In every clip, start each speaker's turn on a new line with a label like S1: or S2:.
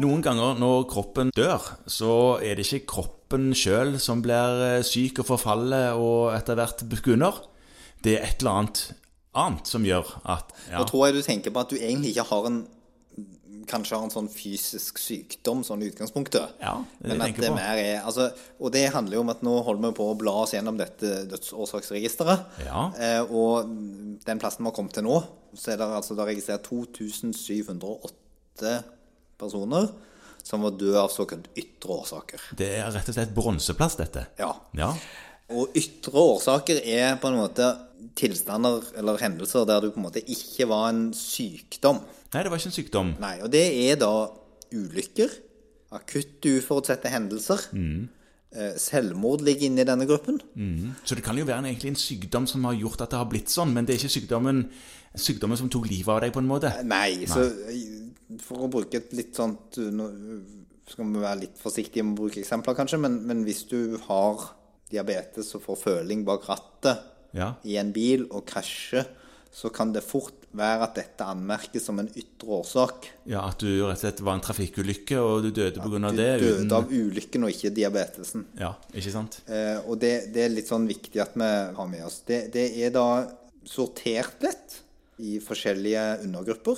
S1: Noen ganger når kroppen dør, så er det ikke kroppen sjøl som blir eh, syk og forfaller og etter hvert bukker under. Det er et eller annet annet som gjør at ja,
S2: Nå tror jeg du tenker på at du egentlig ikke har en Kanskje har en sånn fysisk sykdom sånn i utgangspunktet.
S1: Ja, det er det jeg
S2: Men at
S1: tenker
S2: det
S1: på.
S2: mer er altså, Og det handler jo om at nå holder vi på å bla oss gjennom dette dødsårsaksregisteret.
S1: Ja.
S2: Eh, og den plassen vi har kommet til nå, så er det altså da registrert 2708 personer som var døde av såkalt ytre årsaker.
S1: det er rett og slett bronseplass, dette.
S2: Ja.
S1: Ja.
S2: Og ytre årsaker er på en måte tilstander eller hendelser der du på en måte ikke var en sykdom.
S1: Nei, det var ikke en sykdom.
S2: Nei, og det er da ulykker, akutte uforutsette hendelser,
S1: Mm.
S2: eh, selvmord ligger inne i denne gruppen. Mhm.
S1: Så det kan jo være en, egentlig en sykdom som har gjort at det har blitt sånn, men det er ikke sykdommen, sykdommen som tok livet av deg, på en måte.
S2: Nei, så eh, for å bruke et litt sånt eh, Nå skal vi være litt forsiktige med å bruke eksempler, kanskje, men, men hvis du har diabetes og får føling bak rattet
S1: Ja.
S2: i en bil og krasjer, så kan det fort være at dette anmerkes som en ytre årsak.
S1: ja, At du rett og slett var en trafikkulykke, og du døde på grunn av
S2: Du
S1: det.
S2: døde
S1: uten-
S2: av ulykken og ikke diabetesen.
S1: Ja, ikke sant?
S2: Eh, og det, det er litt sånn viktig at vi har med oss. Det, det er da sortert litt i forskjellige undergrupper.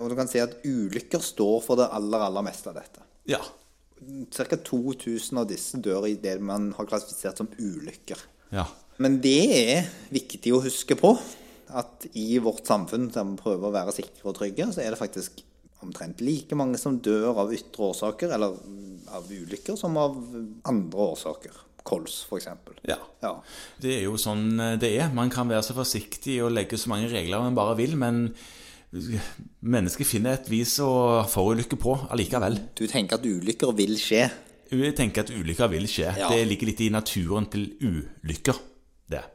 S2: Og du kan si at ulykker står for det aller, aller meste av dette.
S1: Ja.
S2: Ca. 2000 av disse dør i det man har klassifisert som ulykker.
S1: ja.
S2: Men det er viktig å huske på at i vårt samfunn der vi prøver å være sikre og trygge, så er det faktisk omtrent like mange som dør av ytre årsaker, eller av ulykker, som av andre årsaker. Kols, f.eks.
S1: Ja.
S2: Ja.
S1: Det er jo sånn det er. Man kan være så forsiktig og legge så mange regler man bare vil, men eh, mennesket finner et vis å forulykke på allikevel.
S2: Du tenker at ulykker vil skje.
S1: Jeg tenker at ulykker vil skje.
S2: Ja.
S1: Det ligger litt i naturen til ulykker, det.